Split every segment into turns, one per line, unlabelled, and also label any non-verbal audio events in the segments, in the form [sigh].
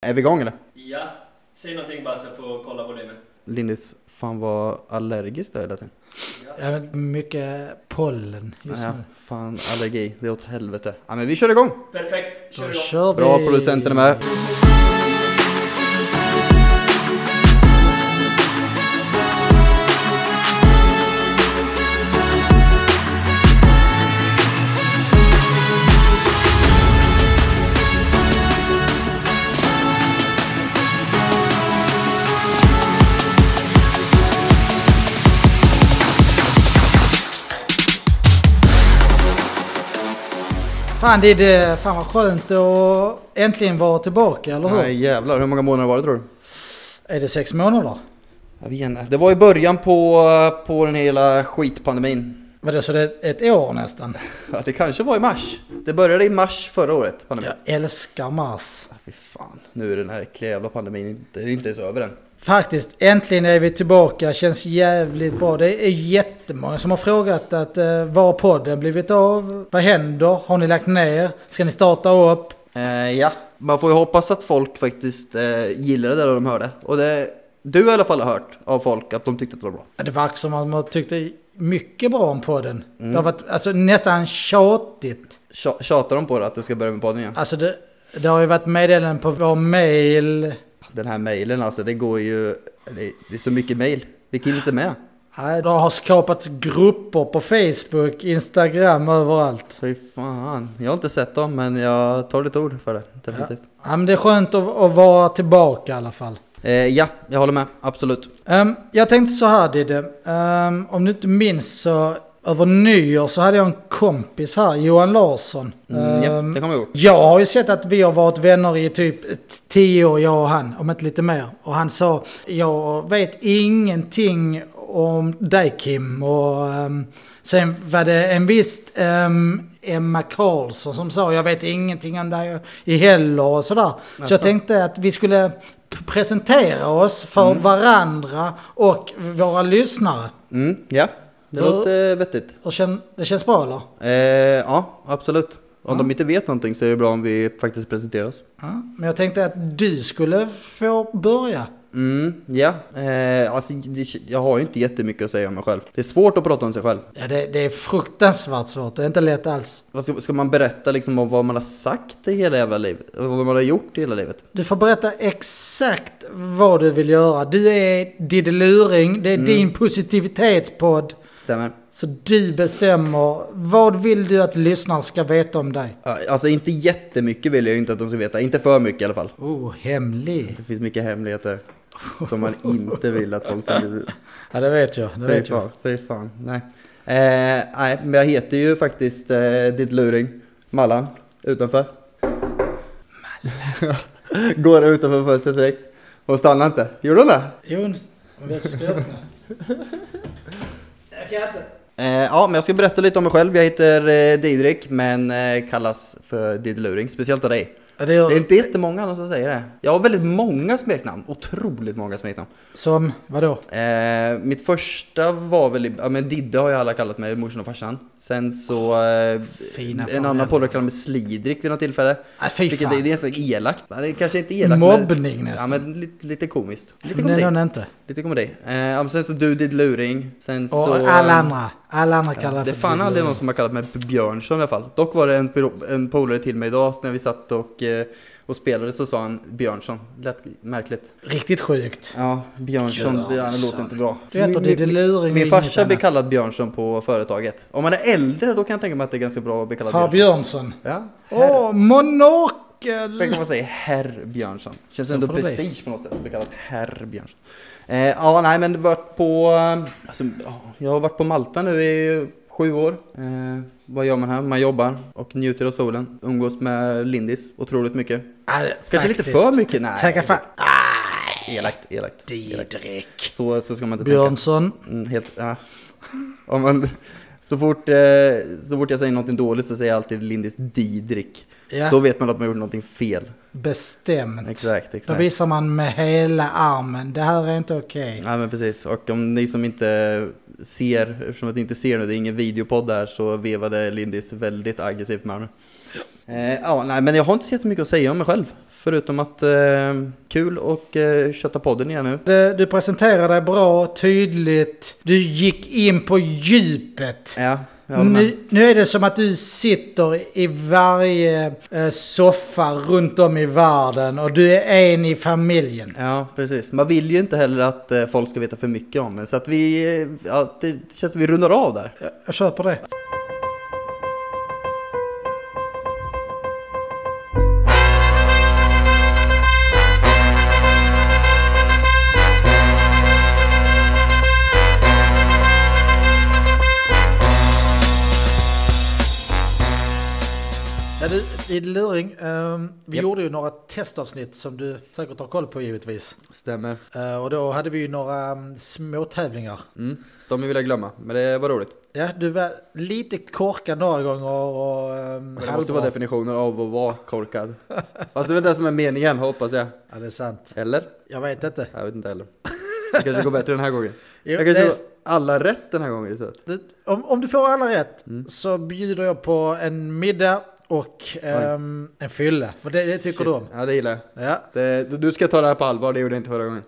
Är vi igång eller?
Ja, säg någonting bara så jag får kolla volymen.
Linus, fan vad allergisk du är hela tiden.
Ja.
Jag vet, mycket pollen just
Ja,
nu.
fan allergi, det är åt helvete. Ja men vi kör igång!
Perfekt, kör
Då
igång.
kör vi!
Bra, producenten är med.
Fan, det är det, fan vad skönt att äntligen vara tillbaka, eller hur?
Nej jävlar, hur många månader var det tror du?
Är det sex månader?
Jag vet inte. Det var i början på, på den hela skitpandemin.
Vadå, så det är ett år nästan?
Ja, det kanske var i mars. Det började i mars förra året, pandemin.
Jag älskar mars.
Ja. Fy fan, nu är den här äckliga jävla pandemin inte, den är inte ens över än.
Faktiskt, äntligen är vi tillbaka. Känns jävligt bra. Det är jättemånga som har frågat att eh, var har podden blivit av? Vad händer? Har ni lagt ner? Ska ni starta upp?
Eh, ja, man får ju hoppas att folk faktiskt eh, gillade det där de hörde. Och det, du i alla fall har hört av folk att de tyckte att det var bra.
Ja, Det verkar som att man tyckte mycket bra om podden. Det
Mm.
har varit alltså, nästan tjatigt.
Tja- Tjatar de på det att du ska börja med podden igen?
Alltså det, det har ju varit meddelanden på vår mail.
Den här mejlen alltså, det går ju... Det, det är så mycket mejl. Vi kan inte med.
Nej, Det har skapats grupper på Facebook, Instagram, överallt.
Fy fan. Jag har inte sett dem, men jag tar ditt ord för det. Definitivt.
Ja, men det är skönt att, att vara tillbaka i alla fall.
Ja, eh, ja jag håller med. Absolut.
Ehm, jag tänkte så här Didde. Ehm, om du inte minns så över nyår så hade jag en kompis här, Johan Larsson.
Mm, ja,
Ehm,
det kommer jag ihåg.
Jag har ju sett att vi har varit vänner i typ tio år, jag och han, om inte lite mer. Och han sa, jag vet ingenting om dig Kim. Och ehm, sen var det en viss ehm, Emma Karlsson som sa, jag vet ingenting om dig i heller och sådär. Så jag
Jaså.
tänkte att vi skulle p- presentera oss för varandra och våra lyssnare.
Mm, ja, det
Då-
låter vettigt.
Och kän, det känns bra eller?
Eh, ja, absolut. Om de inte vet någonting så är det bra om vi faktiskt presenterar oss.
Ja. Men jag tänkte att du skulle få börja.
Mm, ja. Eh, alltså, det- jag har ju inte jättemycket att säga om mig själv. Det är svårt att prata om sig själv.
Ja, det, det är fruktansvärt svårt. Det är inte lätt alls.
Vad Ska, ska man berätta liksom om vad man har sagt i hela jävla livet? Vad man har gjort i hela livet?
Du får berätta exakt vad du vill göra. Du är Diddeluring, det är din positivitetspodd.
Stämmer.
Så du bestämmer. Vad vill du att lyssnarna ska veta om dig?
Ja, Alltså inte jättemycket vill jag ju inte att de ska veta. Inte för mycket i alla fall.
Oh, hemlig.
Det finns mycket hemligheter som man inte vill att folk ska veta.
Ja, det vet jag. Det
Fy
vet jag.
fan, fy fan. Nej. Eh, nej, men jag heter ju faktiskt eh, Ditt Luring. Mallan, utanför. [laughs] Mallan. Går utanför fönstret direkt. Hon stannar inte. Gjorde hon det?
Jons, om jag ska öppna. Jag kan inte.
Eh, ja, men jag ska berätta lite om mig själv. Jag heter eh, Didrik, men eh, kallas för Didd Luring. Speciellt av dig.
Ja,
Det
det
är
gör,
inte jättemånga andra som säger det. Jag har väldigt många smeknamn. Otroligt många smeknamn.
som, vadå?
Eh, mitt första var väl, ja men Didde har ju alla kallat mig, morsan och farsan. Sen så, eh,
Fina
en
fan
annan
jävlar.
polare kallade mig Slidrik vid något tillfälle.
Nej, fy
Vilket är,
fan.
det är nästan elakt. Ja, Det är kanske inte elakt
Mobbning
men, Ja
nästan.
men lite, lite komiskt. Lite
Nej,
komedi.
någon inte.
Lite komedi. Eh, ja, men sen så du, Didd Luring. Sen
Och
så...
alla
eh,
andra. Alla andra
Ja,
kallar
det är
för
fan aldrig
Diddeluring.
någon som har kallat mig Björnsson i alla fall. Dock var det en, piro- en polare till mig idag så när vi satt och, eh, och spelade så sa han Björnsson. Lät märkligt.
Riktigt sjukt.
Ja, Björnsson, det- ja, det låter inte bra.
Du heter
Min-
Didde Luring
Min
och
farsa
inget
blir
annat.
kallad Björnsson på företaget. Om man är äldre då kan jag tänka mig att det är ganska bra att bli kallad
Herr
Björnsson.
Björnsson.
Ja, herr.
Åh, monokel!
Tänk om man säger herr Björnsson. Känns
Så
ändå
får det bli.
prestige på något sätt att bli kallad herr Björnsson. Eh, ja, nej men det varit på... eh, Alltså, ja, jag har varit på Malta nu i sju år. Eh, vad gör man här? Man jobbar och njuter av solen. Umgås med Lindis otroligt mycket. Kanske lite för mycket? Nej.
Tacka fan.
Elakt, elakt. elakt.
Didrik.
Så, så ska man inte tänka.
Björnsson.
Mm, helt, ja. [laughs] Om man, så, fort, eh, så fort jag säger någonting dåligt så säger jag alltid Lindis Didrik. Då
Ja,
vet man att man gjort någonting fel.
bestämt.
Exakt,
Då
exakt.
visar man med hela armen. Det här är inte okej.
Ja men precis, och om ni som inte ser, eftersom att ni inte ser nu, det är ingen videopodd där, så vevade Lindis väldigt aggressivt med armen. Eh, ja, nej men jag har inte så jättemycket att säga om mig själv. För Förutom att eh, kul och eh, kötta podden igen nu.
Du, du presenterade dig bra, tydligt. Du gick in på djupet.
Ja, jag håller med.
Nu, nu är det som att du sitter i varje eh, soffa runt om i världen och du är en i familjen.
Ja, precis. Man vill ju inte heller att eh, folk ska veta för mycket om en. Så att vi, eh, ja, det känns som vi rundar av där.
Jag, jag köper det. Ja, du, din luring. ehm, vi
Japp.
gjorde ju några testavsnitt som du säkert har koll på givetvis.
Stämmer.
Eh, och då hade vi ju några um, små tävlingar.
Mm. De vill jag glömma, men det var roligt.
Ja, du var lite korkad några gånger och um,
Men det måste vara definitionen av att vara korkad. Fast det är väl det som är meningen, hoppas jag.
Ja, det är sant.
Eller?
Jag vet inte.
Jag vet
[laughs]
inte heller. Det kanske går bättre den här gången.
Jo,
Jag
det
kanske
är-
får alla rätt den här gången istället.
det, om, om du får alla rätt
Mm.
så bjuder jag på en middag och ehm, en fylla. För det, det tycker du om.
Ja, det gillar jag.
Ja,
Det, du ska ta det här på allvar, det gjorde jag inte förra
Ah,
gången.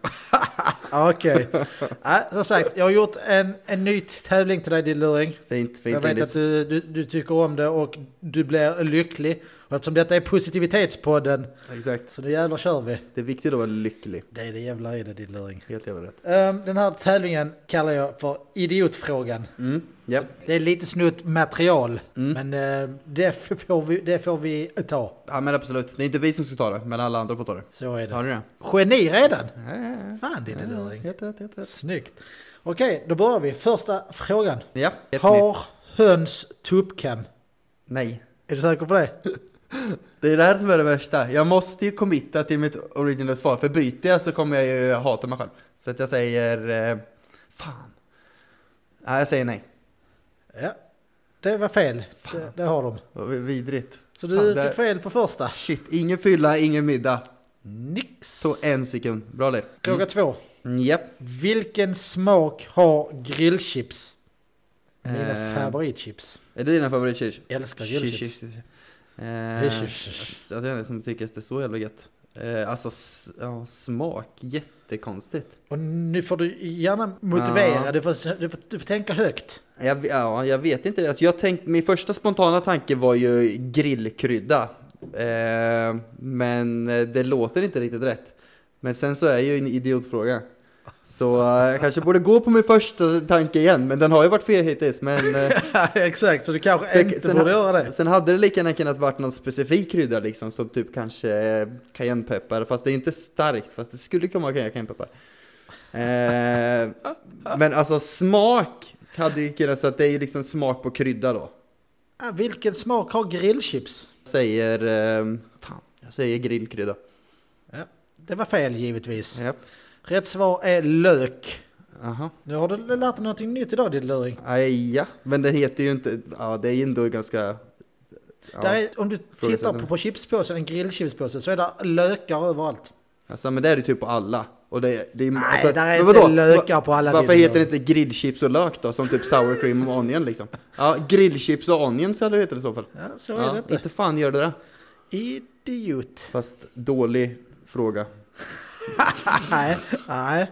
okej.
[laughs]
ja, som sagt, jag har gjort en, en ny tävling till dig din luring.
Fint,
Jag
fint
vet
Lindis.
att du, du, du tycker om det och du blir lycklig. Och eftersom detta är positivitetspodden
Exakt.
så nu jävlar kör vi.
Det är viktigt att vara lycklig.
Det är det jävlar i det din luring.
Helt jävla rätt.
Ehm, den här tävlingen kallar jag för idiotfrågan.
Mm, ja. Mm.
Det är lite snutt material, men eh, det, får vi, det får vi ta.
Ja men absolut. Det är inte vi som ska ta det, men alla andra får ta det.
Så är det.
Har du det?
Geni redan!
Ja, ja,
Fan din luring.
Helt rätt, helt rätt.
Snyggt. Okej, då börjar vi. Första frågan.
Ja, ett nytt.
Har höns tuppkam?
Nej.
Är du säker på det?
Det är det här som är det värsta. Jag måste ju committa till mitt original svar, för byter jag så kommer jag ju hata mig själv. Så att jag säger... Eh, fan. Nej, jag säger nej.
Ja. Det var fel. Det, det har de.
Vad Vidrigt.
Så du
Fan,
fick
det-
fel på första.
Shit, ingen fylla, ingen middag.
Nix.
Så en sekund. Bra Liv.
Fråga två.
Mm, Japp.
Vilken smak har grillchips? Mina
Eh,
favoritchips.
Är det dina favoritchips?
Älskar grillchips.
Chips. Eh,
Grillchips.
alltså, Jag vet inte som tycker att det är så jävla gött. Eh, alltså, s- ja, smak. Jättekonstigt.
Och nu får du gärna motivera.
Ja.
Du, får, du, får, du får
[laughs]
tänka högt.
Jag, v- ja, jag vet inte det. Alltså, jag tänkt, min första spontana tanke var ju grillkrydda. Eh, men eh, det låter inte riktigt rätt. Men sen så är ju en idiotfråga. Så eh, jag kanske borde gå på min första tanke igen, men den har ju varit fel hittills. Men, eh,
Exakt, så du kanske inte
sen-
borde göra det.
Sen hade det lika gärna kunnat varit någon specifik krydda liksom, som typ kanske eh, cayennepeppar, fast det är inte starkt, fast det skulle kunna vara cayennepeppar. Eh, men alltså smak hade ju kunnat, så att det är ju liksom smak på krydda då.
Ah, vilken smak har grillchips?
Säger, eh, fan, jag säger grillkrydda.
Det var fel givetvis.
Ja.
Rätt svar är lök.
Aha.
Nu har du lärt dig någonting nytt idag din luring.
Aj, ja, men det heter ju inte, ja det är ju ändå ganska... Ja.
Där är, om du tittar
Frågeställning.
på, på chipspåsen, en grillchipspåse, så är det lökar överallt.
Alltså men det är det ju typ på alla. Och det, det är,
Nej,
alltså,
där är
men
inte
vadå?
lökar på alla
Varför
bilder.
heter det inte grillchips och lök då? Som typ sour cream och onion liksom. Ja, grillchips och onion så hade det hetat i så fall.
Ja, så är
Ja,
det inte.
inte fan gör det det.
Idiot.
Fast dålig fråga. [laughs]
nej, nej,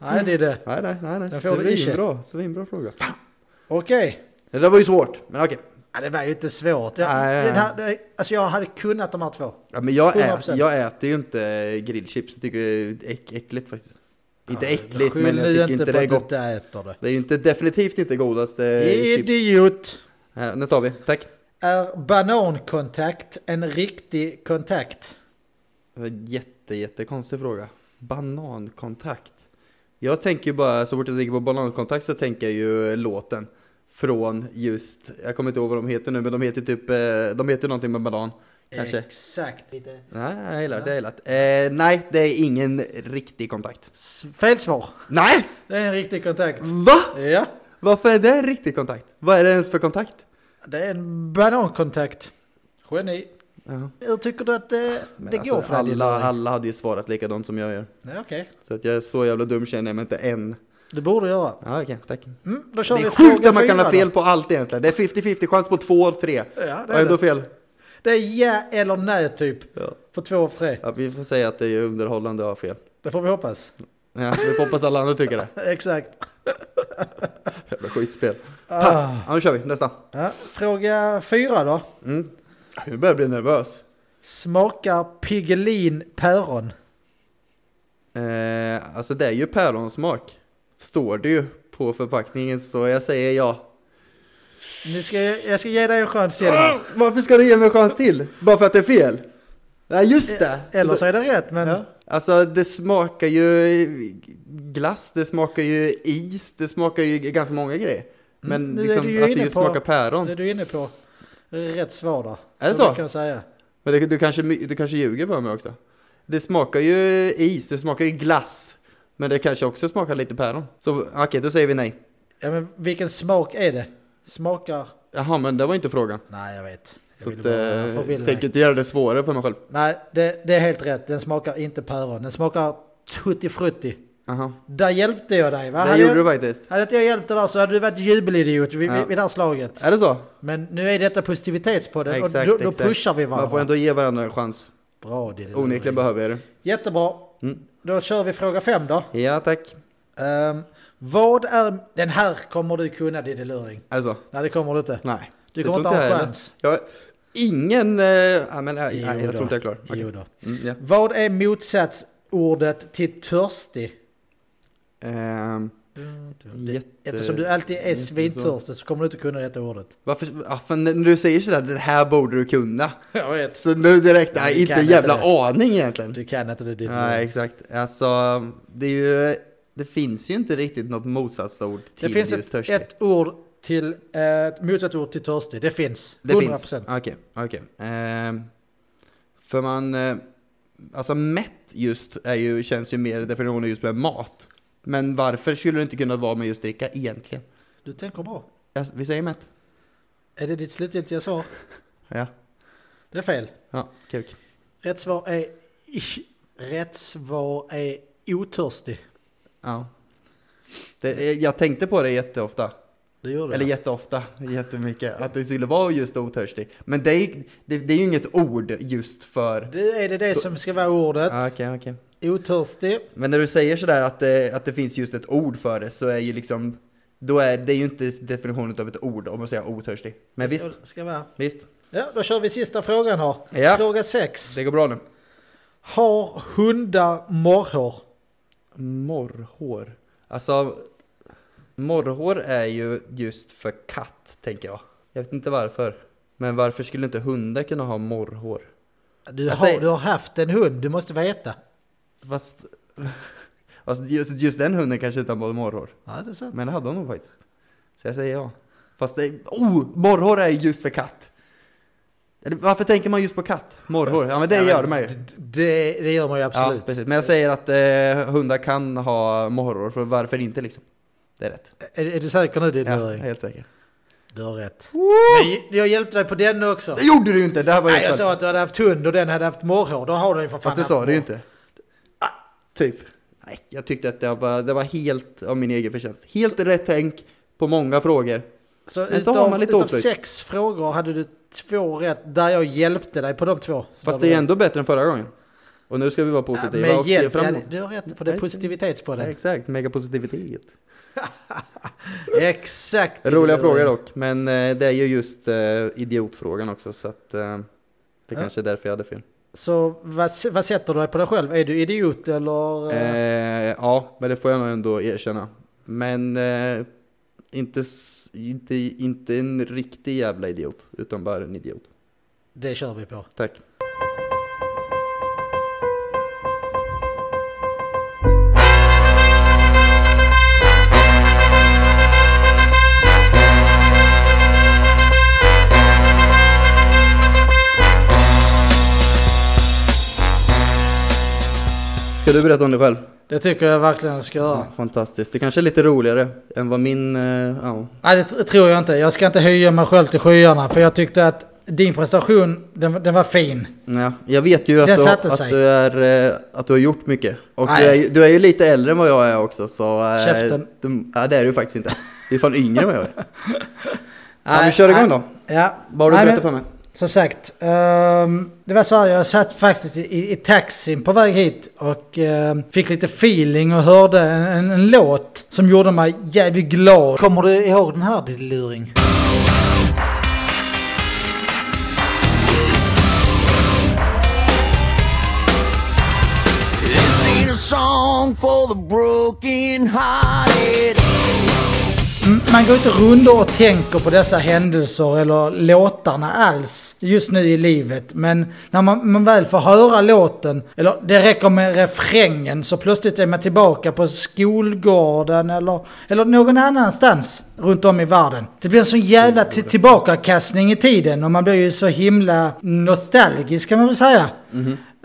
nej det är det.
Nej, nej, nej, nej.
Den får vi inte.
Svinbra, svinbra fråga. Fan.
Okej.
Det där var ju svårt, men okej.
Ja, det var ju inte svårt. Jag,
Nej, nej,
den här, det, alltså jag hade kunnat de här två.
Ja, men jag, ä,
100%.
jag äter ju inte grillchips, det tycker jag är äck, äckligt faktiskt. Inte äckligt,
Skyll
men jag
nu
tycker inte
på
det är
att du
gott.
inte äter det.
Det är ju inte, definitivt inte godaste chips.
Idiot.
Ja, nu tar vi, tack.
Är banankontakt en riktig kontakt?
Det var en Jätte, jättekonstig fråga. Banankontakt. Jag tänker ju bara, så fort jag tänker på banankontakt så tänker jag ju låten. Från just, jag kommer inte ihåg vad de heter nu, men de heter typ, eh, de heter någonting med banan. Kanske.
Exakt. Lite.
Nej, jag gillar det, jag gillar det. Eh, nej, det är ingen riktig kontakt.
S- Fel svar.
Nej!
Det är en riktig kontakt.
Va?
Ja,
Varför är det en riktig kontakt? Vad är det ens för kontakt?
det är en banankontakt. Geni.
Ja.
Hur tycker du att det,
Men
det
alltså,
går för
alla,
all...
alla hade ju svarat likadant som jag gör.
Nej, Okej,
Så att jag är så jävla dum känner jag mig inte än.
det borde göra.
Ja, okej, tack.
Mm, då kör
det
vi
är sjukt
fråga
att man kan
fyra
ha
då.
fel på allt egentligen. Det är 50-50 chans på två och tre.
Ja, det
Och
är
ändå
det.
fel.
Det är ja eller nej typ.
Ja.
På två av tre.
Ja, vi får säga att det är underhållande och har fel.
Det får vi hoppas.
Ja, vi får hoppas alla andra tycker det.
[laughs] Exakt.
[laughs] Jävla skitspel.
Ah.
Ja, nu kör vi. Nästa.
Ja. Fråga fyra då.
Mm. Nu börjar jag bli nervös.
Smakar Piggelin päron?
Eh, alltså det är ju päronsmak. Står det ju på förpackningen så jag säger ja.
Nu ska jag, jag ska ge dig en chans till. här.
Varför ska du ge mig en chans till? Bara för att det är fel? Nej just det!
Eller så är det rätt men...
Ja. Alltså det smakar ju glass, det smakar ju is, det smakar ju ganska många grejer. Men
Mm, nu är
liksom
du ju
att det
inne
ju
på-
smakar päron.
Det är du inne på. Rätt svar där.
Är det
Så
så?
Kan jag säga.
Men det, du, kanske, du kanske ljuger för mig också. Det smakar ju is, det smakar ju glass. Men det kanske också smakar lite päron. Så okej, då säger vi nej.
Ja, men vilken smak är det? Smakar?
Jaha, men det var inte frågan.
Nej jag vet. Jag
Så
ville
att,
bara
eh,
förvilla dig.
tänker inte göra det svårare för mig själv.
Nej det, det är helt rätt. Den smakar inte päron. Den smakar tutti frutti.
Aha.
Där hjälpte jag dig va?
Det
Hade
gjorde
jag-
du faktiskt.
Hade inte jag hjälpt dig där så hade du varit jubelidiot vid,
Ja.
vid, vid det här slaget.
Är det så?
Men nu är detta positivitetspodden och
Exakt,
då, då
exakt.
pushar vi
Man får
varandra.
ändå ge varandra en chans.
Bra Diddy.
Onekligen behöver jag det.
Jättebra.
Mm.
Då kör vi fråga fem då.
Ja, tack.
Ehm, vad är... Den här kommer du kunna Diddy Luring.
Är det så?
Nej det kommer du inte.
Nej.
Du
det
kommer
tror
inte ha en
jag heller.
chans.
Jag har ingen... Eh, ja, men, nej,
Jo
nej, jag
då.
tror inte jag är klar. Okej.
Jo då.
Mm, ja.
Vad är motsatsordet till törstig?
Ehm, jätte-
Eftersom du alltid är
inte så.
svintörstig så kommer du inte kunna detta ordet.
Varför, ja, för när du säger sådär, den här borde du kunna.
[laughs] Jag vet.
Så nu direkt, nej,
du
inte
kan
en
inte
jävla
det.
aning egentligen.
Du kan inte det Diddy
Nej,
Luring.
exakt. Alltså, det är ju... Det finns ju inte riktigt något motsatsord
Det
till
finns
just
ett,
törstig.
ett ord till, eh, ett motsatsord till törstig. Det finns. 100%.
Det finns? Okej, okej. Ehm, för man, eh, alltså mätt just är ju, känns ju mer definitionen just med mat. Men varför skulle det inte kunna vara med just dricka egentligen?
Du tänker bra.
Ja, vi säger mätt.
Är det ditt slutgiltiga svar?
Ja,
Det är fel.
ja kuk.
Rätt svar är... Rätt svar är otörstig.
Ja. Det, är- jag tänkte på det jätteofta,
Det gör du.
eller jätteofta, jättemycket, att det skulle vara just otörstig. Men det är, det, det är ju inget ord just för...
det är det det som ska vara ordet.
Ja, Okej, okej.
Otörstig.
Men när du säger sådär att det, att det finns just ett ord för det så är ju liksom Då är det är ju inte definitionen av ett ord om man säger otörstig Men visst,
Ska vara.
visst
Ja, då kör vi sista frågan då.
Ja.
Fråga 6.
Det går bra nu
Har hundar morrhår?
Morrhår Alltså Morrhår är ju just för katt tänker jag Jag vet inte varför Men varför skulle inte hundar kunna ha morrhår?
Du
Jag
har,
säger-
du har haft en hund, du måste veta.
Fast [laughs] Fast just, just den hunden kanske inte har morrhår
Ja, det är sant.
Men det hade hon nog faktiskt Så jag säger ja Fast det, oh! Morrhår är ju just för katt Eller varför tänker man just på katt? Morrhår, ja men
[laughs]
det gör man ju
D- Det, det gör man ju
Ja,
absolut.
precis. Men jag säger att eh, hundar kan ha morrhår, för varför inte liksom? Det är rätt.
är, är du säker nu Diddy
Ja, jag
Luring?
är helt säker.
Du har rätt. Men jag hjälpte dig på den också.
Det gjorde du ju inte! Det här var
Nej, jag
helt
sa
skönt.
att du hade haft hund och den hade haft morrhår. Då har du ju för fan
Fast det
haft
sa du ju
morrhår.
inte. Typ. Nej, jag tyckte att det var, det var helt av min egen förtjänst. Helt rätt tänk på många frågor.
Så
Men så
utav,
har man lite
utav
oflyt.
sex frågor hade du två rätt där jag hjälpte dig på de två.
Fast det är ändå bättre än förra gången. Och nu ska vi vara positiva
Ja,
och
med
se
hjälp.
fram
Ja,
emot.
du har rätt, för det är
Nej, Ja,
positivitetspodden.
exakt, megapositivitet.
Exakt. det
Roliga
du-
frågor dock, men eh, det är ju just eh, idiotfrågan också så att eh, det
Ja.
kanske är därför jag hade fel.
Så vad, s- vad sätter du dig på dig själv? Är du idiot eller?
Eh,
eh,
ja, men det får jag nog ändå erkänna. Men eh, inte, s- inte, inte en riktig jävla idiot, utan bara en idiot.
Det kör vi på.
Tack. Ska du berätta om dig själv?
Det tycker jag verkligen jag ska
Mm.
göra.
Fantastiskt. Det kanske är lite roligare än vad min... eh, Ja.
Nej, det tr- tror jag inte. Jag ska inte höja mig själv till skyarna för jag tyckte att din prestation, den, den var fin.
Ja, jag vet ju att,
Den
du,
satte sig.
att, du är, eh, att du har gjort mycket. Och du
Nej.
är, ju- du är ju lite äldre än vad jag är också så... eh,
Käften.
Du, ja det är du faktiskt
[laughs]
inte. Du är fan yngre än vad jag är. Ja,
Nej,
vi kör igång
nej.
då.
Ja.
Vad har du
Nej,
berättat
men-
för mig?
Som sagt, ehm, det var så här, jag satt faktiskt i, i taxin på väg hit och ehm, fick lite feeling och hörde en, en, en låt som gjorde mig jävligt glad. Kommer du ihåg den här din luring?
This ain't a song for the broken hearted.
Mm, Man går inte rundor och tänker på dessa händelser eller låtarna alls just nu i livet. Men när man, man väl får höra låten, eller det räcker med refrängen, så plötsligt är man tillbaka på skolgården eller, eller någon annanstans runt om i världen. Det blir en sån jävla t- tillbakakastning i tiden och man blir ju så himla nostalgisk kan man väl säga.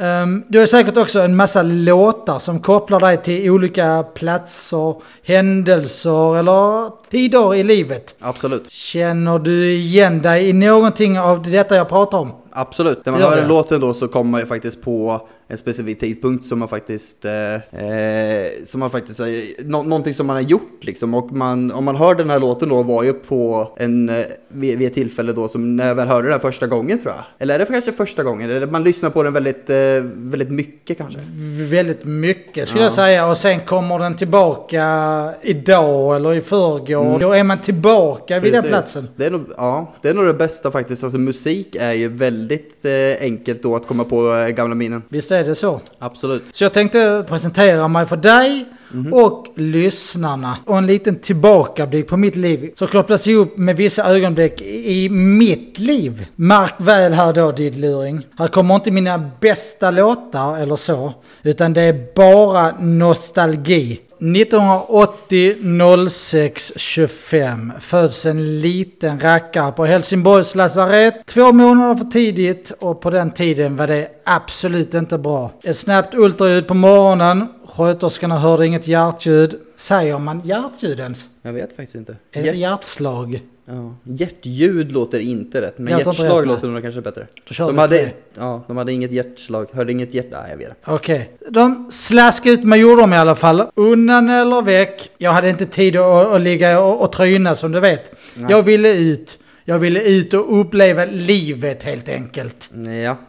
Ehm, du har säkert också en massa låtar som kopplar dig till olika platser, händelser eller tider i livet.
Absolut,
Känner du igen dig i någonting av detta jag pratar om?
absolut. När man
Ja,
hör
ja.
en låt då så kommer man ju faktiskt på en specifik tidpunkt som man faktiskt, eh, eh, som man faktiskt, eh, nå- någonting som man har gjort liksom. Och man, om man hör den här låten då var ju på en, eh, vid, vid ett tillfälle då som när jag väl hörde den första gången tror jag. Eller är det kanske första gången? Eller man lyssnar på den väldigt, eh, väldigt mycket kanske.
Väldigt mycket skulle
Ja.
jag säga och sen kommer den tillbaka idag eller i förrgår. Då är man tillbaka vid den
Mm. Precis.
platsen.
Det är, nog, ja, det är nog det bästa faktiskt. Alltså musik är ju väldigt eh, enkelt då att komma på eh, gamla minnen.
Visst är det så?
Absolut.
Så jag tänkte presentera mig för dig och lyssnarna. Och en liten tillbakablick på mitt liv. Så kopplas jag upp med vissa ögonblick i i mitt liv. Märk väl här då diddluring. Här kommer inte mina bästa låtar eller så. Utan det är bara nostalgi. 1980 06 25 föds en liten rackare på Helsingborgs lasarett. Två månader för tidigt och på den tiden var det absolut inte bra. Ett snabbt ultraljud på morgonen. Sköterskorna hörde inget hjärtljud. Säger man hjärtljud ens?
Jag vet faktiskt inte.
Är det ett hjärtslag?
ja. Hjärtljud låter inte rätt, men
Jag tror inte
hjärtslag
rätt, nej.
låter nog kanske bättre.
Då kör
De
vi på
hade,
det.
ja, de hade inget hjärtslag, hörde inget hjärt... Nej, jag vet inte.
Okej. De slaskade ut mig gjorde de i alla fall. Undan eller väck. Jag hade inte tid att, att ligga och, och tryna som du vet. Jag ville ut. Jag ville ut och uppleva livet helt enkelt.
Ja.
I'm no survivor.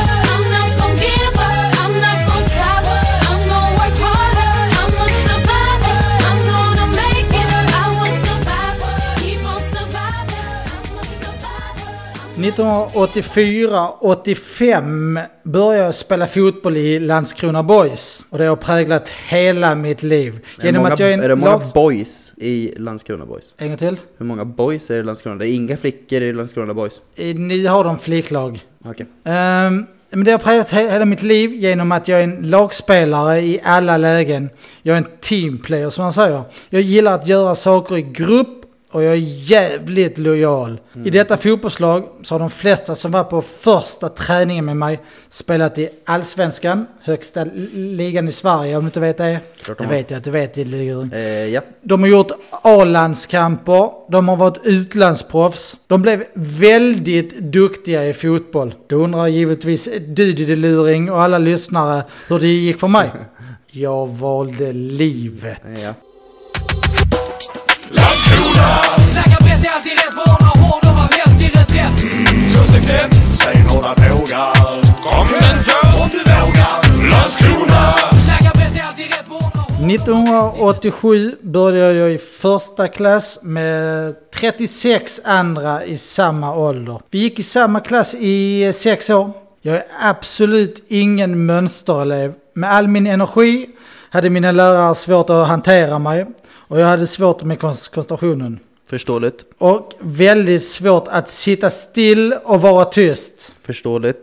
I'm not gon' give up. I'm not gon' sour. I'm gon' work harder. I'm a survivor. I'm gonna make it. I will survive. Keep on surviving. I'm a survivor.
1984-85 började jag spela fotboll i Landskrona Boys. Och det har präglat hela mitt liv.
Är det, många, är,
en
det många
lags-
boys i Landskrona Boys?
En gång till.
Hur många boys är det i Landskrona? Det är inga flickor i Landskrona Boys.
I- Ni har de flicklag.
Okej.
Ehm, men det har präglat he- hela mitt liv genom att jag är en lagspelare i alla lägen. Jag är en teamplayer som man säger. Jag gillar att göra saker i grupp och jag är jävligt lojal.
Mm.
I detta fotbollslag så har de flesta som var på första träningen med mig spelat i Allsvenskan, högsta l- ligan i Sverige om du inte vet det.
Klart de
Det
har.
vet jag att du vet, Lidluring.
Eh, ja.
De har gjort A-landskamper, de har varit utlandsproffs. De blev väldigt duktiga i fotboll. Då undrar givetvis du Luring och alla lyssnare hur det gick för mig. Jag valde livet.
eh, ja.
Snackar brett är alltid rätt, varnar hård och har vänt i reträtt.
261, säg några frågor. Kom igen för om du vågar. Landskrona.
Snackar brett är alltid rätt, varnar hård
1987 började jag i första klass med 36 andra i samma ålder. Vi gick i samma klass i eh, sex år. Jag är absolut ingen mönsterelev. Med all min energi hade mina lärare svårt att hantera mig och jag hade svårt med kon- koncentrationen.
Förståeligt.
Och väldigt svårt att sitta still och vara tyst.
Förståeligt.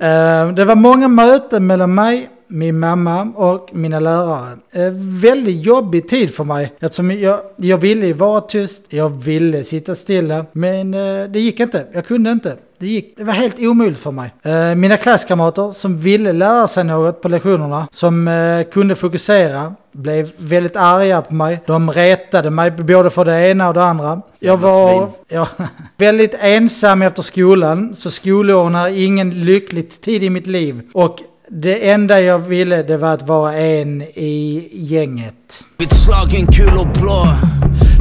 Eh, Det var många möten mellan mig, min mamma och mina lärare. Eh, Väldigt jobbig tid för mig eftersom jag, jag ville ju vara tyst, jag ville sitta stilla. Men eh, det gick inte, jag kunde inte. Det, gick, det var helt omöjligt för mig. Eh, Mina klasskamrater som ville lära sig något på lektionerna, som eh, kunde fokusera, blev väldigt arga på mig. De retade mig både för det ena och det andra. Jag
Jävla
var
svin.
ja, [laughs] väldigt ensam efter skolan, så skolåren är ingen lycklig tid i mitt liv. Och det enda jag ville det var att vara en i gänget.
Mitt slag är en kul och blå.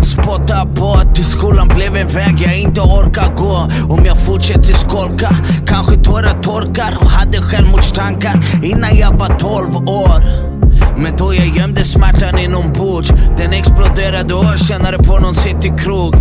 spottar på att till skolan blev en väg jag inte orkar gå Om jag fortsätter skolka kanske tårar torkar och hade självmordstankar innan jag var 12 år men då jag gömde smärtan inombords Den exploderade år senare på någon citykrog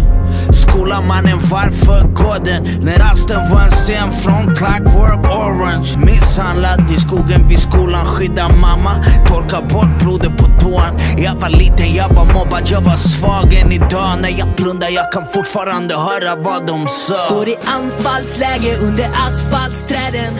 Skolan mannen varför går den? När alstern var en scen från Clockwork Orange Misshandlad i skogen vid skolan Skydda mamma Torka bort blodet på toan Jag var liten, jag var mobbad, jag var svag Än idag när jag blundar jag kan fortfarande höra vad de sa
Står i anfallsläge under asfaltsträden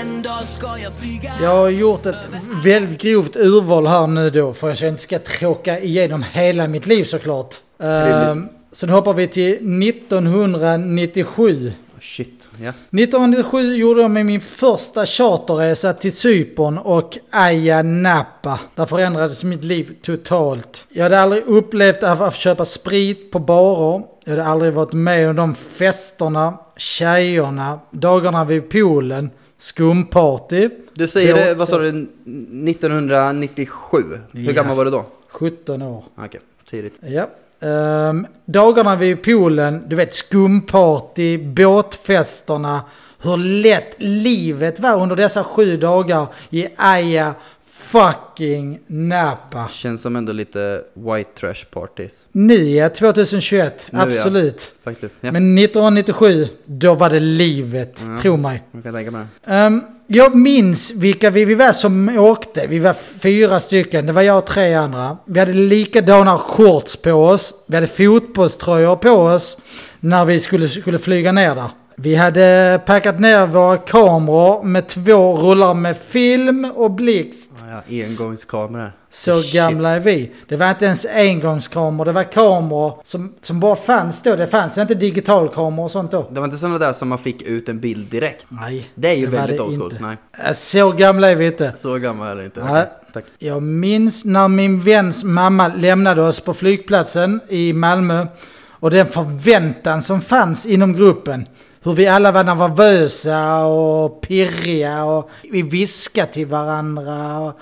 En dag ska jag flyga
Jag har gjort ett väldigt grovt urval här nu då för att jag inte ska tråka igenom hela mitt liv såklart. Ehm, så nu hoppar vi till 1997.
Oh, Shit, ja.
1997 gjorde jag med min första charterresa till Cypern och Ayia Napa. Där förändrades mitt liv totalt. Jag hade aldrig upplevt att att köpa sprit på barer. Jag hade aldrig varit med om de festerna, tjejerna, dagarna vid poolen, skumparty.
Du säger,
Det-
det, vad sa du, 1997?
Ja.
Hur gammal var du då?
17 år.
Ah, Okej, tidigt.
Ja. Ehm, dagarna vid poolen, du vet skumparty, båtfesterna, hur lätt livet var under dessa sju dagar i Ayia fucking Napa.
Känns som ändå lite white trash parties.
Nu ja, 2021,
Nu, ja.
absolut.
Faktiskt. Ja,
Men 1997, då var det livet,
Mm.
tro mig.
man kan tänka mig det.
Ehm, jag minns vilka vi, vi var som åkte. Vi var fyra stycken. Det var jag och tre andra. Vi hade likadana shorts på oss. Vi hade fotbollströjor på oss när vi skulle, skulle flyga ner där. Vi hade packat ner våra kameror med två rullar med film och blixt.
Ja, ja, engångskameror.
Så
Ah, Shit.
gamla är vi. Det var inte ens engångskameror, det var kameror som, som bara fanns då. Det fanns inte digitalkameror och sånt då.
Det var inte sådana där som man fick ut en bild direkt.
Nej,
Det är ju
var
väldigt
det
old school.
inte.
Nej,
Äh, Så gamla är vi inte.
så gammal är det inte.
Nej.
Okej, Tack.
Jag minns när min väns mamma lämnade oss på flygplatsen i Malmö och den förväntan som fanns inom gruppen. Hur vi alla var nervösa och pirriga och vi viskade till varandra. Och,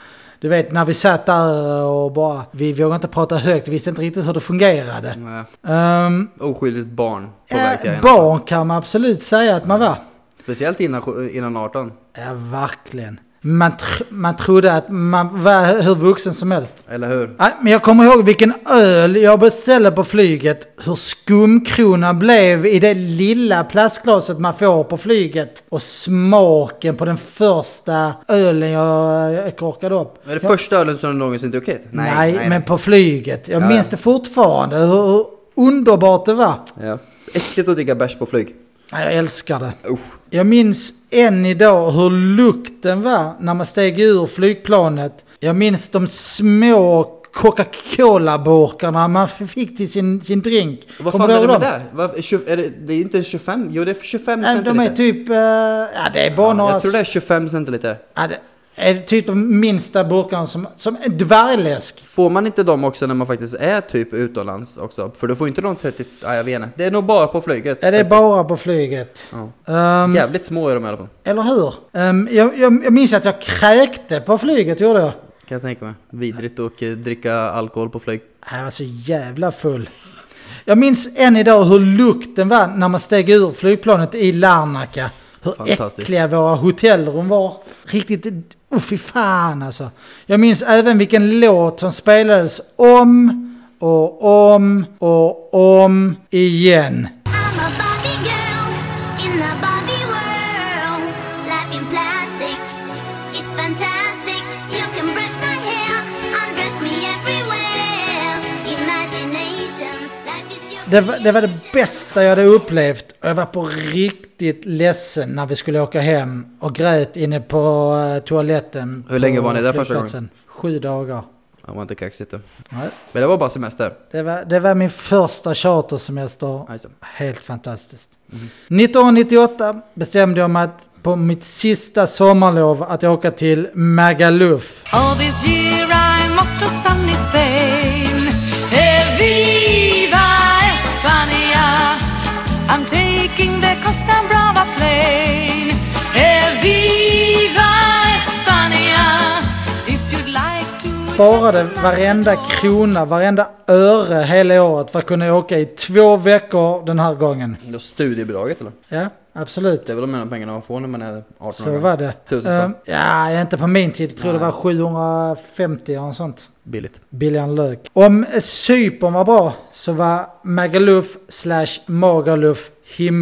du vet när vi satt där och bara, vi vågade inte prata högt, vi visste inte riktigt hur det fungerade.
Nej.
Ehm,
Oskyldigt barn på väg till
äh,
en.
barn kan man absolut säga att man var.
Speciellt innan, sju- innan 18.
Ja, verkligen. Man, tr- man trodde att man var hur vuxen som helst.
Eller hur?
Nej, men jag kommer ihåg vilken öl jag beställde på flyget. Hur skumkronan blev i det lilla plastglaset man får på flyget. Och smaken på den första ölen jag, jag korkade upp.
Är det första ölen som du någonsin druckit?
Nej, men på flyget. Jag
Ja,
minns
ja.
det fortfarande. Hur, hur underbart det var.
Ja. Äckligt att dricka bärs på flyg.
Nej, Jag älskar det.
Usch.
Jag minns än idag hur lukten var när man steg ur flygplanet. Jag minns de små Coca-Cola-burkarna man fick till sin, sin drink.
Vad
Kommer
fan
du
är det
ihåg
med
dem?
det? Vad- 20 är det, det är inte 25? Jo, det är 25
Nej,
centiliter.
de är typ... eh, ja, det är bara några...
Jag tror det är 25 centiliter.
ja, det är typ de minsta burkarna som... Som en dvärgläsk.
Får man inte dem också när man faktiskt är typ utomlands också? För då får inte de 30... Ja, jag vet inte. Det är nog bara på flyget.
Ja, det är
faktiskt.
bara på flyget.
Ja.
Ehm,
Jävligt små är de i alla fall.
eller hur? Ehm, jag, jag, jag minns att jag kräkte på flyget, gjorde jag.
Kan jag tänka mig. Vidrigt att eh, dricka alkohol på flyg.
Jag var så jävla full. Jag minns än idag hur lukten var när man steg ur flygplanet i Larnaca. Hur
Fantastiskt.
äckliga våra hotellrum var. Riktigt... Oh, fy fan alltså. Jag minns även vilken låt som spelades om och om och om igen.
I'm a Barbie girl in a Barbie world. Life in plastic, it's fantastic. You can brush my hair, undress me everywhere. Imagination, life is your
Det var, det var det bästa jag hade upplevt. Och jag var på riktigt ledsen när vi skulle åka hem och grät inne på eh, toaletten.
Hur länge
på
var ni där första
flygplatsen. Sju dagar.
Det var inte kaxigt då.
Nej.
Men det var bara semester.
Det var, det var min första chartersemester.
Alltså.
Helt fantastiskt. 1998 bestämde jag mig att på mitt sista sommarlov att åka till Magaluf.
All this year I'm off to sunny Spain. Eviva España. I'm taking the Costa Brava plane. Eviva España. If you'd like to,
sparade varenda krona, varenda öre hela året för att kunna åka i två veckor den här gången.
Då studiebidraget eller?
Ja, absolut.
Det är väl de enda pengarna man får när man är 18
Så var det.
Tusen spänn.
Ehm, ja, inte på min tid. Jag tror det var 750 eller något sånt.
Billigt.
Billigare än lök. Om Cypern var bra så var Magaluf slash Magaluf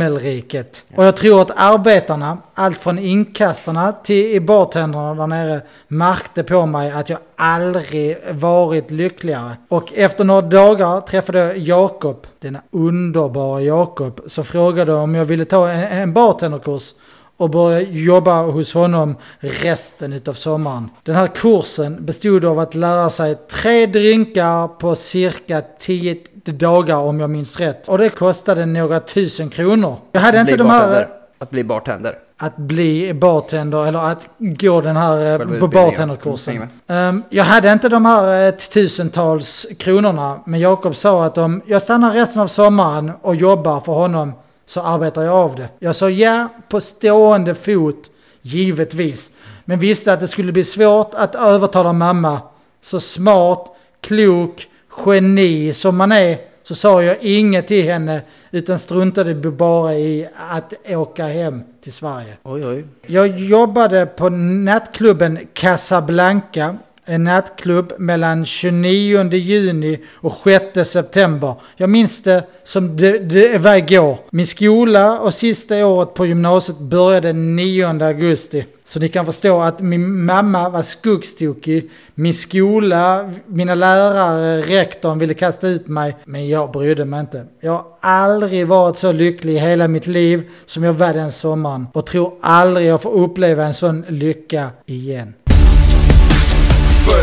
himmelriket. Och jag tror att arbetarna, allt från inkastarna till i bartenderna där nere, märkte på mig att jag aldrig varit lyckligare. Och efter några dagar träffade jag Jakob, denna underbara Jakob, så frågade om jag ville ta en, en bartenderkurs och börja jobba hos honom resten av sommaren. Den här kursen bestod av att lära sig tre drinkar på cirka 10 dagar om jag minns rätt. Och det kostade några tusen kronor. Jag hade inte de här...
Att bli bartender.
Att bli bartender eller att gå den här eh, på
utbildningen.
bartenderkursen.
Mm,
Ehm, jag hade inte de här eh, tusentals kronorna. Men Jakob sa att om jag stannar resten av sommaren och jobbar för honom så arbetar jag av det. Jag sa ja på stående fot, givetvis. Men visste att det skulle bli svårt att övertala mamma. Så smart, klok, geni som man är så sa jag inget till henne utan struntade bara i att åka hem till Sverige.
Oj, oj.
Jag jobbade på nattklubben Casablanca. En nattklubb mellan 29 juni och 6 september. Jag minns det som det, det var igår. Min skola och sista året på gymnasiet började 9 augusti. Så ni kan förstå att min mamma var skuggstokig. Min skola, mina lärare, rektorn ville kasta ut mig. Men jag brydde mig inte. Jag har aldrig varit så lycklig i hela mitt liv som jag var den sommaren. Och tror aldrig jag får uppleva en sån lycka igen.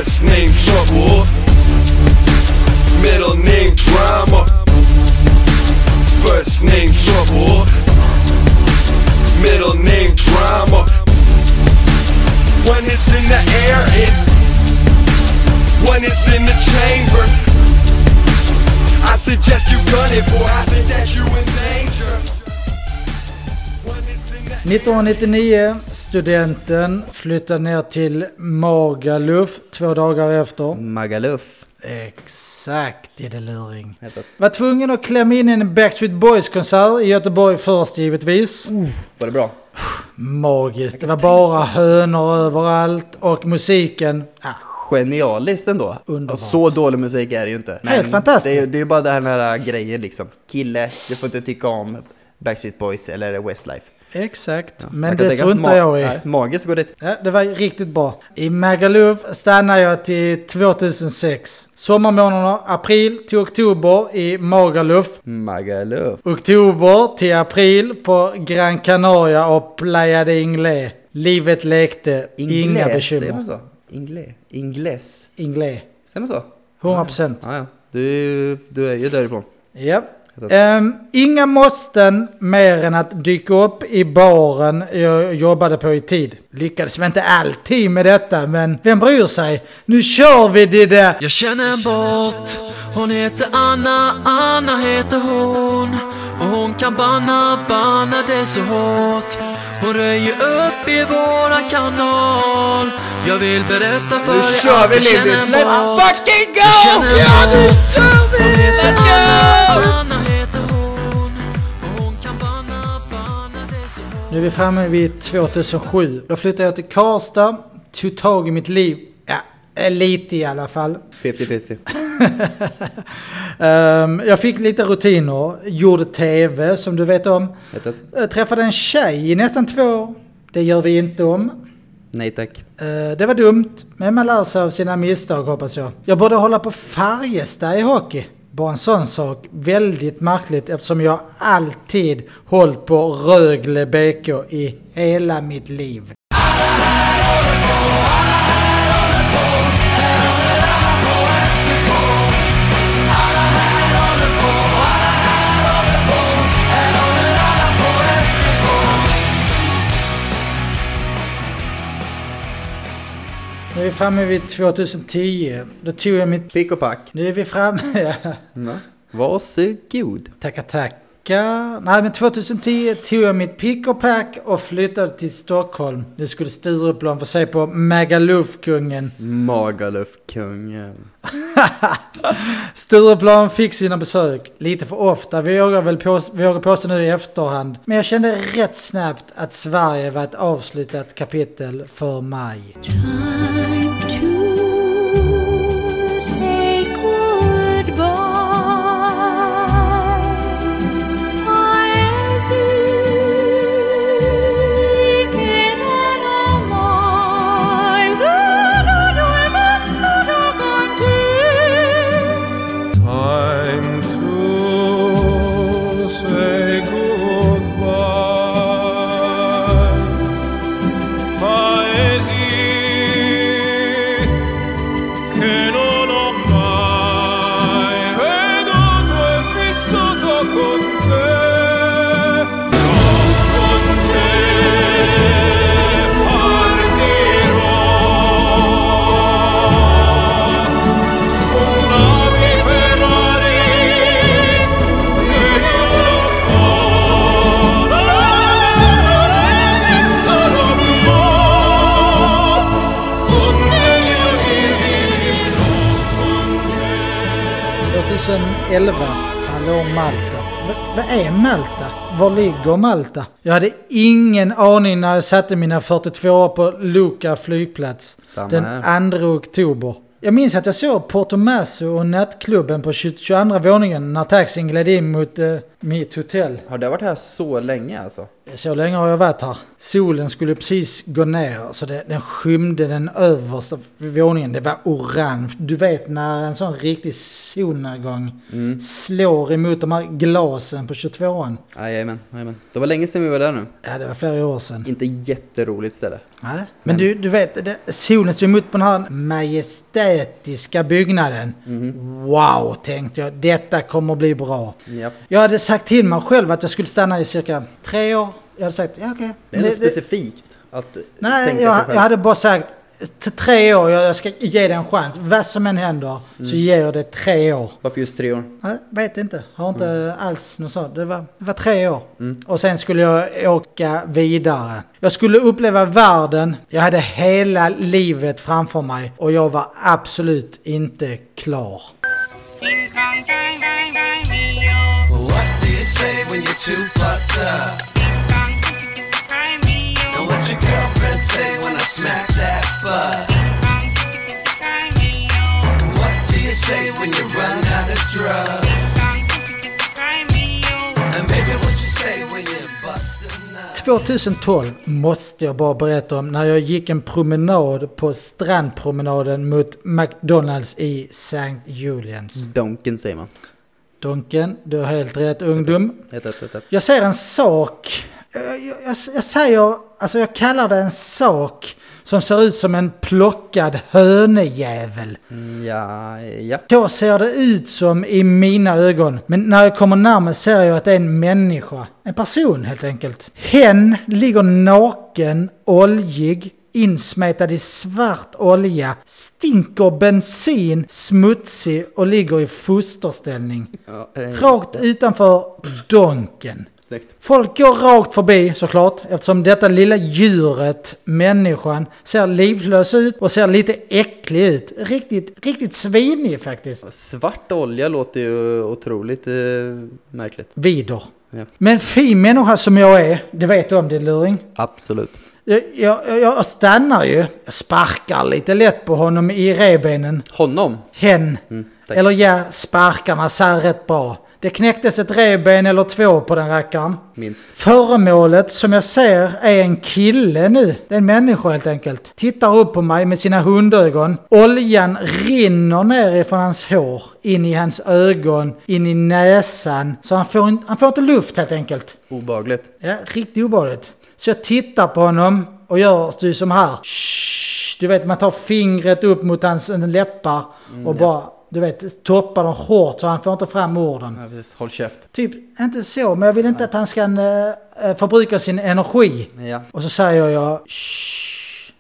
First name trouble. Middle name drama. First name trouble. Middle name drama. When it's in the air, it. When it's in the chamber. I suggest you gun it, boy. I think that you in danger. When it's in the
1999, studenten flyttade ner till Magaluf två dagar efter.
Magaluf.
Exakt, det är det luring.
heter det.
Var tvungen att klämma in en Backstreet Boys-konsert i Göteborg först givetvis.
Var det bra?
Magiskt. Det var bara hönor överallt och musiken. Ah,
Genialiskt ändå.
Underbart.
Och så dålig musik är det ju inte.
Helt fantastiskt.
Det är, det är ju bara den här grejen liksom. Kille, du får inte tycka om Backstreet Boys eller Westlife.
exakt.
Man kan
Men det
tänka att
struntar
ma-
jag i.
nej, Magiskt går dit.
Ja, det var riktigt bra. I Magaluf stannade jag till 2006. Sommarmånaderna april till oktober i Magaluf.
Magaluf.
Oktober till april på Gran Canaria och Playa de Inglés. Livet lekte, inga
Ingles, Säger man
bekymmer.
så? Ingle. Ingles.
Inglés,
Säger man så?
100%.
Ja, ja. Du, du är ju därifrån.
Ja.
Så att-
Ehm, inga måsten mer än att dyka upp i baren jag jobbade på i tid. Lyckades väl inte alltid med detta, men vem bryr sig? Nu kör vi Didde!
Jag känner en båt, hon heter Anna, Anna heter hon Och hon kan banna, banna det så hårt Hon röjer upp i våran kanal Jag vill berätta för
Nu kör vi Lindis! Let's fucking go!
Ja nu kör vi! Let's go! Anna heter hon Och hon kan banna, banna det så hårt
Nu är vi framme vid 2007. Då flyttade jag till Karlstad, tog tag i mitt liv. Ja, eh, lite i alla fall.
50-50.
Ehm, jag fick lite rutiner, gjorde tv som du vet om.
Vet du?
Jag träffade en tjej i nästan två år. Det gör vi inte om.
Nej tack.
Eh, Det var dumt, men man lär sig av sina misstag hoppas jag. Jag borde hålla på Färjestad i hockey. Bara en sån sak. Väldigt märkligt eftersom jag alltid hållit på Rögle BK i hela mitt liv. Nu är vi framme vid 2010. Då tog jag mitt... [laughs]
Pick och pack.
Nu är vi framme...
Varsågod.
Tackar, tack. tillbaka... Nej, men 2010 tog jag mitt pick och pack och flyttade till Stockholm. Nu skulle Stureplan få se på Magaluf-kungen.
Magaluf-kungen.
Stureplan fick sina besök. Lite för ofta vågar väl pås- vågar påstå nu i efterhand. Men jag kände rätt snabbt att Sverige var ett avslutat kapitel för mig.
Time to say goodbye. I as you can on my love and I should have gone to
Time to say goodbye. Paesi che non ho mai veduto e vissuto con te. Non con te partirò. Tsunami per mare, io lo so, non esisterò più. Con te io vivirò, con te.
2011, hallå Malta. V- Vad är Malta? Var ligger Malta? Jag hade ingen aning när jag satte mina 42 år på Luka flygplats
Samma här.
den 2 oktober. Jag minns att jag såg Porto Masso och nattklubben på 20 22 våningen när taxin gled in mot eh, mitt hotell.
Har det varit här så länge alltså?
Så länge har jag varit här. Solen skulle precis gå ner så det, den skymde den översta våningen. Det var orange. Du vet när en sån riktig solnedgång
Mm.
slår emot de här glasen på 22an.
Jajamän, jajamän. Det var länge sedan vi var där nu.
Ja, det var flera år sedan.
Inte jätteroligt ställe.
Ja. Men du, du vet, det, solen står emot på den här majestätiska byggnaden.
Mm.
Wow, tänkte jag. Detta kommer bli bra.
Japp.
Jag hade sagt till mig själv att jag skulle stanna i cirka tre år. Jag hade sagt, ja okej.
Det är ändå
Det- det-
specifikt att
Nej,
tänka
jag,
sig själv.
jag hade bara sagt t- tre år, jag jag ska ge det en chans. Vad som än händer så ger jag det tre år. Mm.
Varför just tre år?
Mm. Nej, vet inte, har inte alls något sånt. Det var, det var tre år. Och sen skulle jag åka vidare. Jag skulle uppleva världen, jag hade hela livet framför mig och jag var absolut inte klar.
What do you say when you're too fucked up? And what your girlfriend say when I smack that butt? What do you say when you run out of drugs? And baby, what you say when you bust a nut?
2012 måste jag bara berätta om när jag gick en promenad på strandpromenaden mot McDonalds i St. Julians.
Donken säger man.
Donken, du har helt rätt ungdom.
Ett, ett, ett, ett.
Jag säger en sak. Jag, jag, jag, jag säger, alltså jag kallar det en sak som ser ut som en plockad hönejävel.
Mm, Ja, ja.
Så ser det ut som i mina ögon. Men när jag kommer närmare ser jag att det är en människa. En person helt enkelt. Hen ligger naken, oljig, insmetad i svart olja, stinker bensin, smutsig och ligger i fosterställning.
ja eh,
Rakt utanför donken.
Snyggt.
Folk går rakt förbi såklart eftersom detta lilla djuret, människan, ser livlös ut och ser lite äcklig ut. Riktigt, riktigt svinig faktiskt.
Svart olja låter ju otroligt eh, märkligt.
Vider.
Ja.
Men fin människa som jag är, det vet du om din luring.
Absolut.
Jag, jag, jag- jag stannar ju, jag sparkar lite lätt på honom i revbenen.
Honom?
Hen.
Mm, tack.
eller ja, sparkarna sär rätt bra. Det knäcktes ett revben eller två på den rackaren.
Minst.
Föremålet som jag ser är en kille nu. Det är en människa helt enkelt. Tittar upp på mig med sina hundögon. Oljan rinner nerifrån hans hår, in i hans ögon, in i näsan. Så han får, in, han får inte luft helt enkelt.
Obagligt.
Ja, riktigt obehagligt. Så jag tittar på honom och gör du som här. Shhh, du vet man tar fingret upp mot hans läppar och bara, du vet, toppar dem hårt så han får inte fram orden.
Ja, precis. Håll käft.
Typ, inte så, men jag vill inte att han ska eh, eh, förbruka sin energi.
Ja.
Och så säger jag Shh.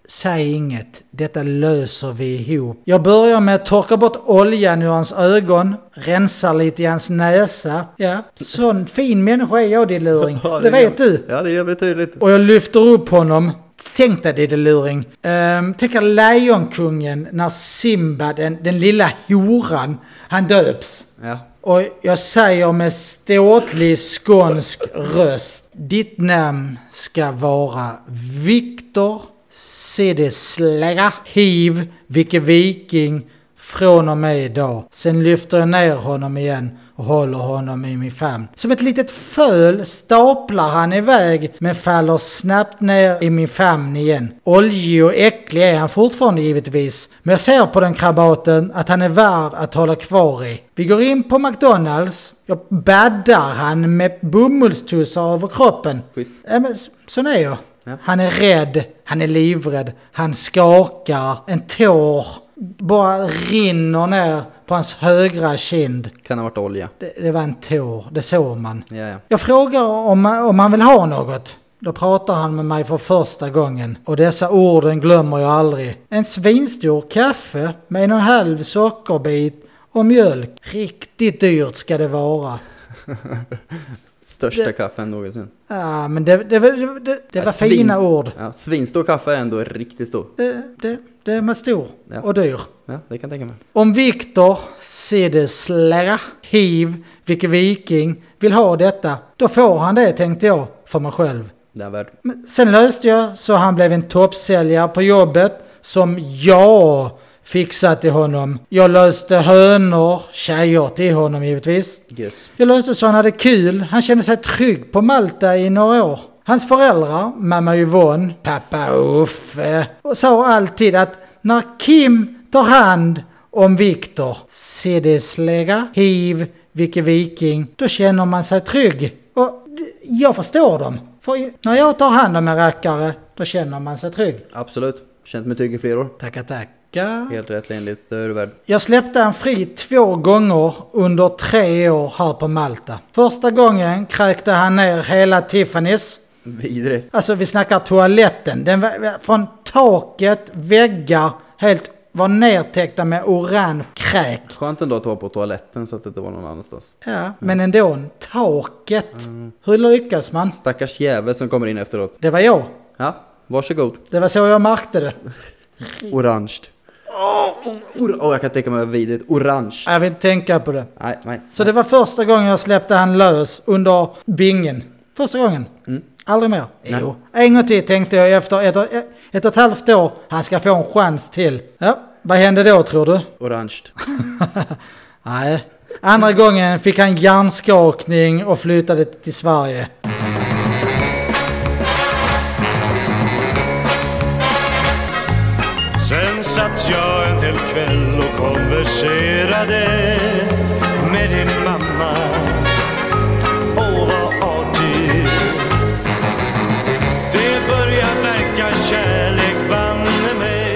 Säg inget, detta löser vi ihop. Jag börjar med att torka bort oljan ur hans ögon, rensar lite i hans näsa. Ja, sån fin människa är jag din luring.
Ja,
Det
är-
vet du.
Ja, det är jävligt tydligt.
Och jag lyfter upp honom. Tänk dig Didde Luring. Um, tänk er Lejonkungen när Simba, den, den lilla horan, han döps.
Ja.
Och jag säger med ståtlig skånsk röst. Ditt namn ska vara Viktor Cedersläga Hiv, Vilke Viking, från och med idag. Sen lyfter jag ner honom igen och håller honom i min famn. Som ett litet föl staplar han iväg men faller snabbt ner i min famn igen. Oljig och äcklig är han fortfarande givetvis. Men jag ser på den krabaten att han är värd att hålla kvar i. Vi går in på McDonalds. Jag baddar han med bomullstussar över kroppen.
Schysst.
Ja, men s- sån är jag.
Ja.
Han är rädd, han är livrädd, han skakar, en tår bara rinner ner på hans högra kind.
Kan ha varit olja.
Det, det var en tår, det såg man.
Ja, ja.
Jag frågar om, om han vill ha något. Då pratar han med mig för första gången och dessa orden glömmer jag aldrig. En svinstor kaffe med en och en halv sockerbit och mjölk. Riktigt dyrt ska det vara.
Största
Det-
kaffen någonsin.
Ah, men det, det, det, det, det var
Ja, svin-
fina ord.
Ja, svinstor kaffe är ändå riktigt stor.
Det, det, det var stor
Ja.
och dyr.
Ja, det kan jag tänka mig.
Om Viktor Cederslära, Hiv, vilken viking, vill ha detta, då får han det tänkte jag för mig själv.
Det är värd.
Men sen löste jag så han blev en toppsäljare på jobbet som jag fixade till honom. Jag löste hönor, tjejer till honom givetvis.
Yes.
Jag löste så han hade kul. Han kände sig trygg på Malta i några år. Hans föräldrar, mamma Yvonne, pappa Uffe, och sa alltid att när Kim tar hand om Viktor, Cedersläga, Hiv, Vicky Viking, då känner man sig trygg. Och d- jag förstår dem. För när jag tar hand om en rackare, då känner man sig trygg.
Absolut. Känt mig trygg i flera år.
Tackar, tackar.
Helt rätt Lindlis, det är du värd.
Jag släppte han fri två gånger under tre år här på Malta. Första gången kräkte han ner hela Tiffany's.
Vidrigt.
Alltså vi snackar toaletten. Den var- var från taket, väggar, helt var nertäckta med orange kräk.
Skönt ändå att vara på toaletten så att det inte var någon annanstans.
Ja, men ändå, taket. Hur lyckas man?
Stackars jävel som kommer in efteråt.
Det var jag.
Ja, varsågod.
Det var så jag märkte det.
Orange. Åh, oh, jag kan tänka mig vad vidrigt. Orange.
Jag vill inte tänka på det.
Nej, nej.
Så det var första gången jag släppte han lös under bingen. Första gången. Aldrig mer.
Mm. Nej.
Jo. En gång till tänkte jag efter ett, och- ett och ett halvt år, han ska få en chans till. Ja, vad hände då tror du?
Orange.
Nej. Andra gången fick han hjärnskakning och flyttade till Sverige.
Sen satt jag en hel kväll och konverserade med din mamma. Åh, vad artig. Det börjar verka kärlek banne mig.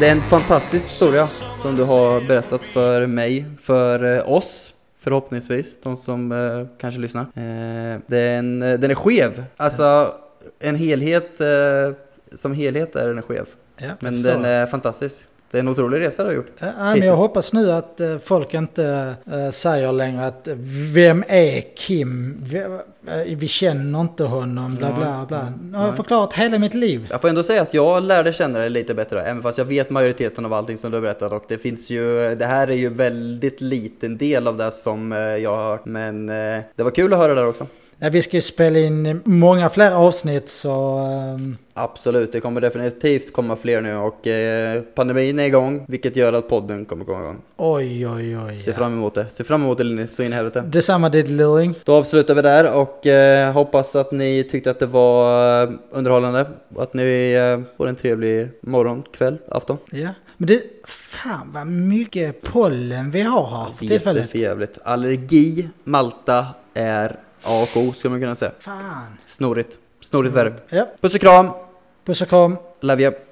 Det är en fantastisk historia som du har berättat för mig, för eh, oss förhoppningsvis, de som eh, kanske lyssnar. Eh, den, eh, den är skev, alltså en helhet, eh, som helhet är den skev.
Ja,
Men
så.
den är fantastisk. Det är en otrolig resa du har gjort.
Ja, men jag
Hittills.
hoppas nu att eh, folk inte eh, säger längre att vem är Kim? Vi, eh, vi känner inte honom, bla bla bla. Nu har jag förklarat hela mitt liv.
Jag får ändå säga att jag lärde känna dig lite bättre, även fast jag vet majoriteten av allting som du har berättat och det finns ju, det här är ju väldigt liten del av det som eh, jag har hört, men eh, det var kul att höra det där också.
Ja, vi ska ju spela in många fler avsnitt så... ehm,
Absolut, det kommer definitivt komma fler nu och eh, pandemin är igång, vilket gör att podden kommer komma igång.
oj, oj, oj.
Se fram emot det, se fram emot det Linus, så in i helvete.
Detsamma Diddlyring.
Då avslutar vi där och eh, hoppas att ni tyckte att det var eh, underhållande. och Att ni eh, får en trevlig morgon, kväll, afton.
Ja. Men du, fan vad mycket pollen vi har här för tillfället.
Jätteförjävligt. Allergi, Malta är A och O skulle man kunna säga.
Fan.
Snorrigt. Snorrigt värre.
Ja,
Puss och kram,
puss och kram.
love you.